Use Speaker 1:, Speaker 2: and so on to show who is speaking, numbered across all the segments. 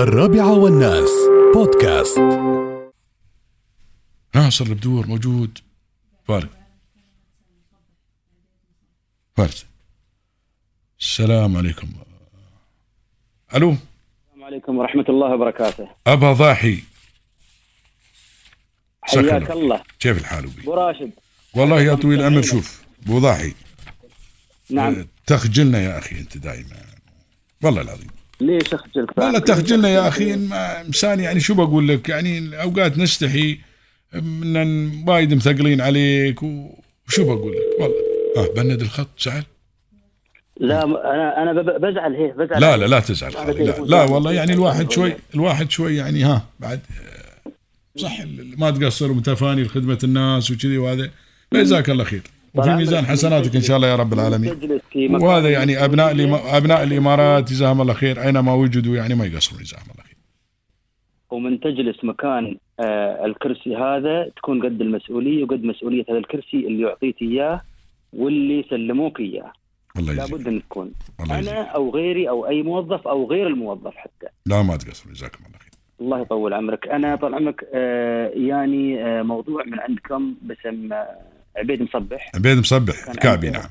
Speaker 1: الرابعة والناس بودكاست
Speaker 2: ناصر البدور موجود فارس فارس السلام عليكم الو
Speaker 3: السلام عليكم ورحمة الله وبركاته
Speaker 2: ابا ضاحي سخن
Speaker 3: حياك
Speaker 2: لك.
Speaker 3: الله
Speaker 2: كيف الحال ابي
Speaker 3: أبو راشد
Speaker 2: والله يا طويل الامر شوف ابو ضاحي إيه.
Speaker 3: نعم
Speaker 2: تخجلنا يا اخي انت دائما والله العظيم
Speaker 3: ليش أخجل
Speaker 2: والله تخجلنا يا اخي إن ما- انسان يعني شو بقول لك يعني اوقات نستحي من أن وايد مثقلين عليك وشو بقول لك والله اه بند الخط زعل
Speaker 3: لا م- أنا أنا بب- بزعل هي بزعل
Speaker 2: لا لا لا تزعل خالي لا, لا والله يعني الواحد شوي الواحد شوي يعني ها بعد آه، صح ال- ما تقصر ومتفاني لخدمه الناس وكذي وهذا جزاك الله خير وفي ميزان حسناتك ان شاء الله يا رب العالمين
Speaker 3: تجلس في مكان
Speaker 2: وهذا يعني ابناء الإما- ابناء الامارات جزاهم الله خير اينما وجدوا يعني ما يقصرون جزاهم الله خير
Speaker 3: ومن تجلس مكان آه الكرسي هذا تكون قد المسؤولية وقد مسؤولية هذا الكرسي اللي يعطيك إياه واللي سلموك إياه
Speaker 2: الله يجزيك
Speaker 3: لابد أن تكون
Speaker 2: الله
Speaker 3: أنا
Speaker 2: يجزيك
Speaker 3: أو غيري أو أي موظف أو غير الموظف حتى
Speaker 2: لا ما تقصرون جزاكم الله خير
Speaker 3: الله يطول عمرك أنا طال عمرك آه يعني آه موضوع من عندكم باسم آه، عبيد مصبح
Speaker 2: عبيد مصبح الكعبي نعم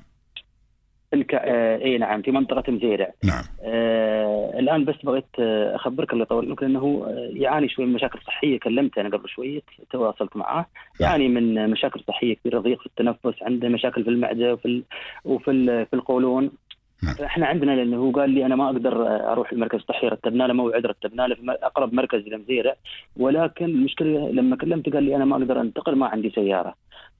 Speaker 3: الك... آه اي نعم في منطقه مزيرع
Speaker 2: نعم
Speaker 3: آه الان بس بغيت آه، اخبرك الله يطول عمرك لانه آه، يعاني شوي من مشاكل صحيه كلمته انا قبل شويه تواصلت معاه يعاني من آه، مشاكل صحيه كبيره ضيق في التنفس عنده مشاكل في المعده وفي ال... وفي ال... في القولون
Speaker 2: نعم.
Speaker 3: فاحنا عندنا لانه هو قال لي انا ما اقدر آه، اروح المركز الصحي رتبنا له موعد رتبنا له في م- اقرب مركز لمزيرع ولكن المشكله لما كلمته قال لي انا ما اقدر انتقل ما عندي سياره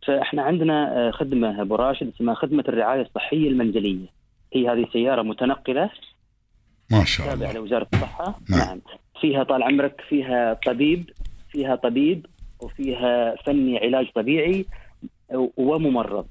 Speaker 3: فاحنا عندنا آه، خدمه ابو راشد اسمها خدمه الرعايه الصحيه المنزليه هي هذه سياره متنقله
Speaker 2: ما شاء
Speaker 3: تابعه
Speaker 2: الله
Speaker 3: لوزاره الصحه
Speaker 2: نعم.
Speaker 3: نعم. نعم فيها طال عمرك فيها طبيب فيها طبيب وفيها فني علاج طبيعي وممرض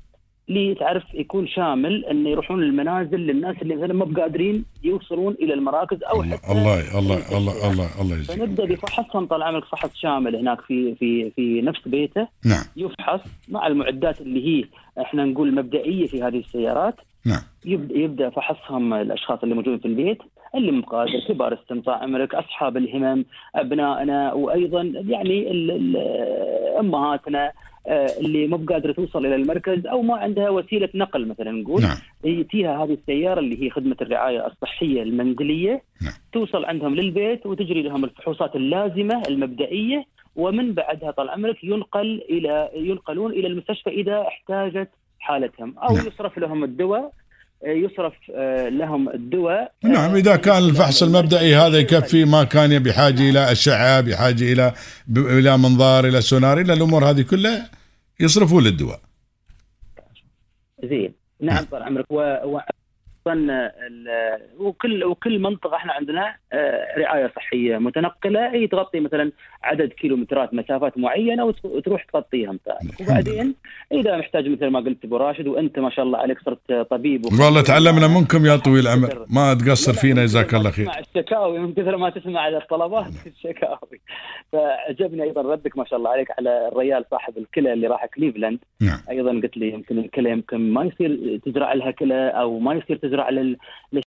Speaker 3: لي تعرف يكون شامل انه يروحون المنازل للناس اللي مثلا ما بقادرين يوصلون الى المراكز او
Speaker 2: الله
Speaker 3: حتى
Speaker 2: الله الله الله الله الله
Speaker 3: فنبدا
Speaker 2: يجزيك
Speaker 3: بفحصهم طال عمرك فحص شامل هناك في في في نفس بيته
Speaker 2: نعم
Speaker 3: يفحص مع المعدات اللي هي احنا نقول مبدئيه في هذه السيارات
Speaker 2: نعم
Speaker 3: يبدا يبدا فحصهم الاشخاص اللي موجودين في البيت اللي مقادر كبار استمتاع عمرك اصحاب الهمم ابنائنا وايضا يعني ال- ال- امهاتنا آه، اللي ما بقادره توصل الى المركز او ما عندها وسيله نقل مثلا نقول
Speaker 2: نعم
Speaker 3: يأتيها إيه، هذه السيارة اللي هي خدمة الرعاية الصحية المنزلية
Speaker 2: نعم.
Speaker 3: توصل عندهم للبيت وتجري لهم الفحوصات اللازمة المبدئية ومن بعدها طال عمرك ينقل إلى ينقلون إلى المستشفى إذا احتاجت حالتهم أو
Speaker 2: نعم.
Speaker 3: يصرف لهم الدواء آه، يصرف آه، لهم الدواء آه،
Speaker 2: نعم إذا كان الفحص المبدئي هذا يكفي ما كان بحاجة إلى أشعة بحاجة إلى ب- إلى منظار إلى سونار إلى الأمور هذه كلها يصرفوا للدواء
Speaker 3: زين نعم طال عمرك و... و... أيضاً ال- وكل وكل منطقه احنا عندنا آه، رعايه صحيه متنقله هي تغطي مثلا عدد كيلومترات مسافات معينه وت- وتروح تغطيهم طيب.
Speaker 2: الحمد لله.
Speaker 3: وبعدين اذا محتاج مثل ما قلت ابو راشد وانت ما شاء الله عليك صرت طبيب وخبير.
Speaker 2: والله تعلمنا منكم يا طويل العمر ما تقصر فينا جزاك الله خير
Speaker 3: تسمع الشكاوي من كثر ما تسمع الطلبات الشكاوي فعجبني ايضا ردك ما شاء الله عليك على الريال صاحب الكلى اللي راح كليفلاند
Speaker 2: نعم
Speaker 3: ايضا قلت لي يمكن الكلى يمكن ما يصير تزرع لها كلى او ما يصير تزرع لل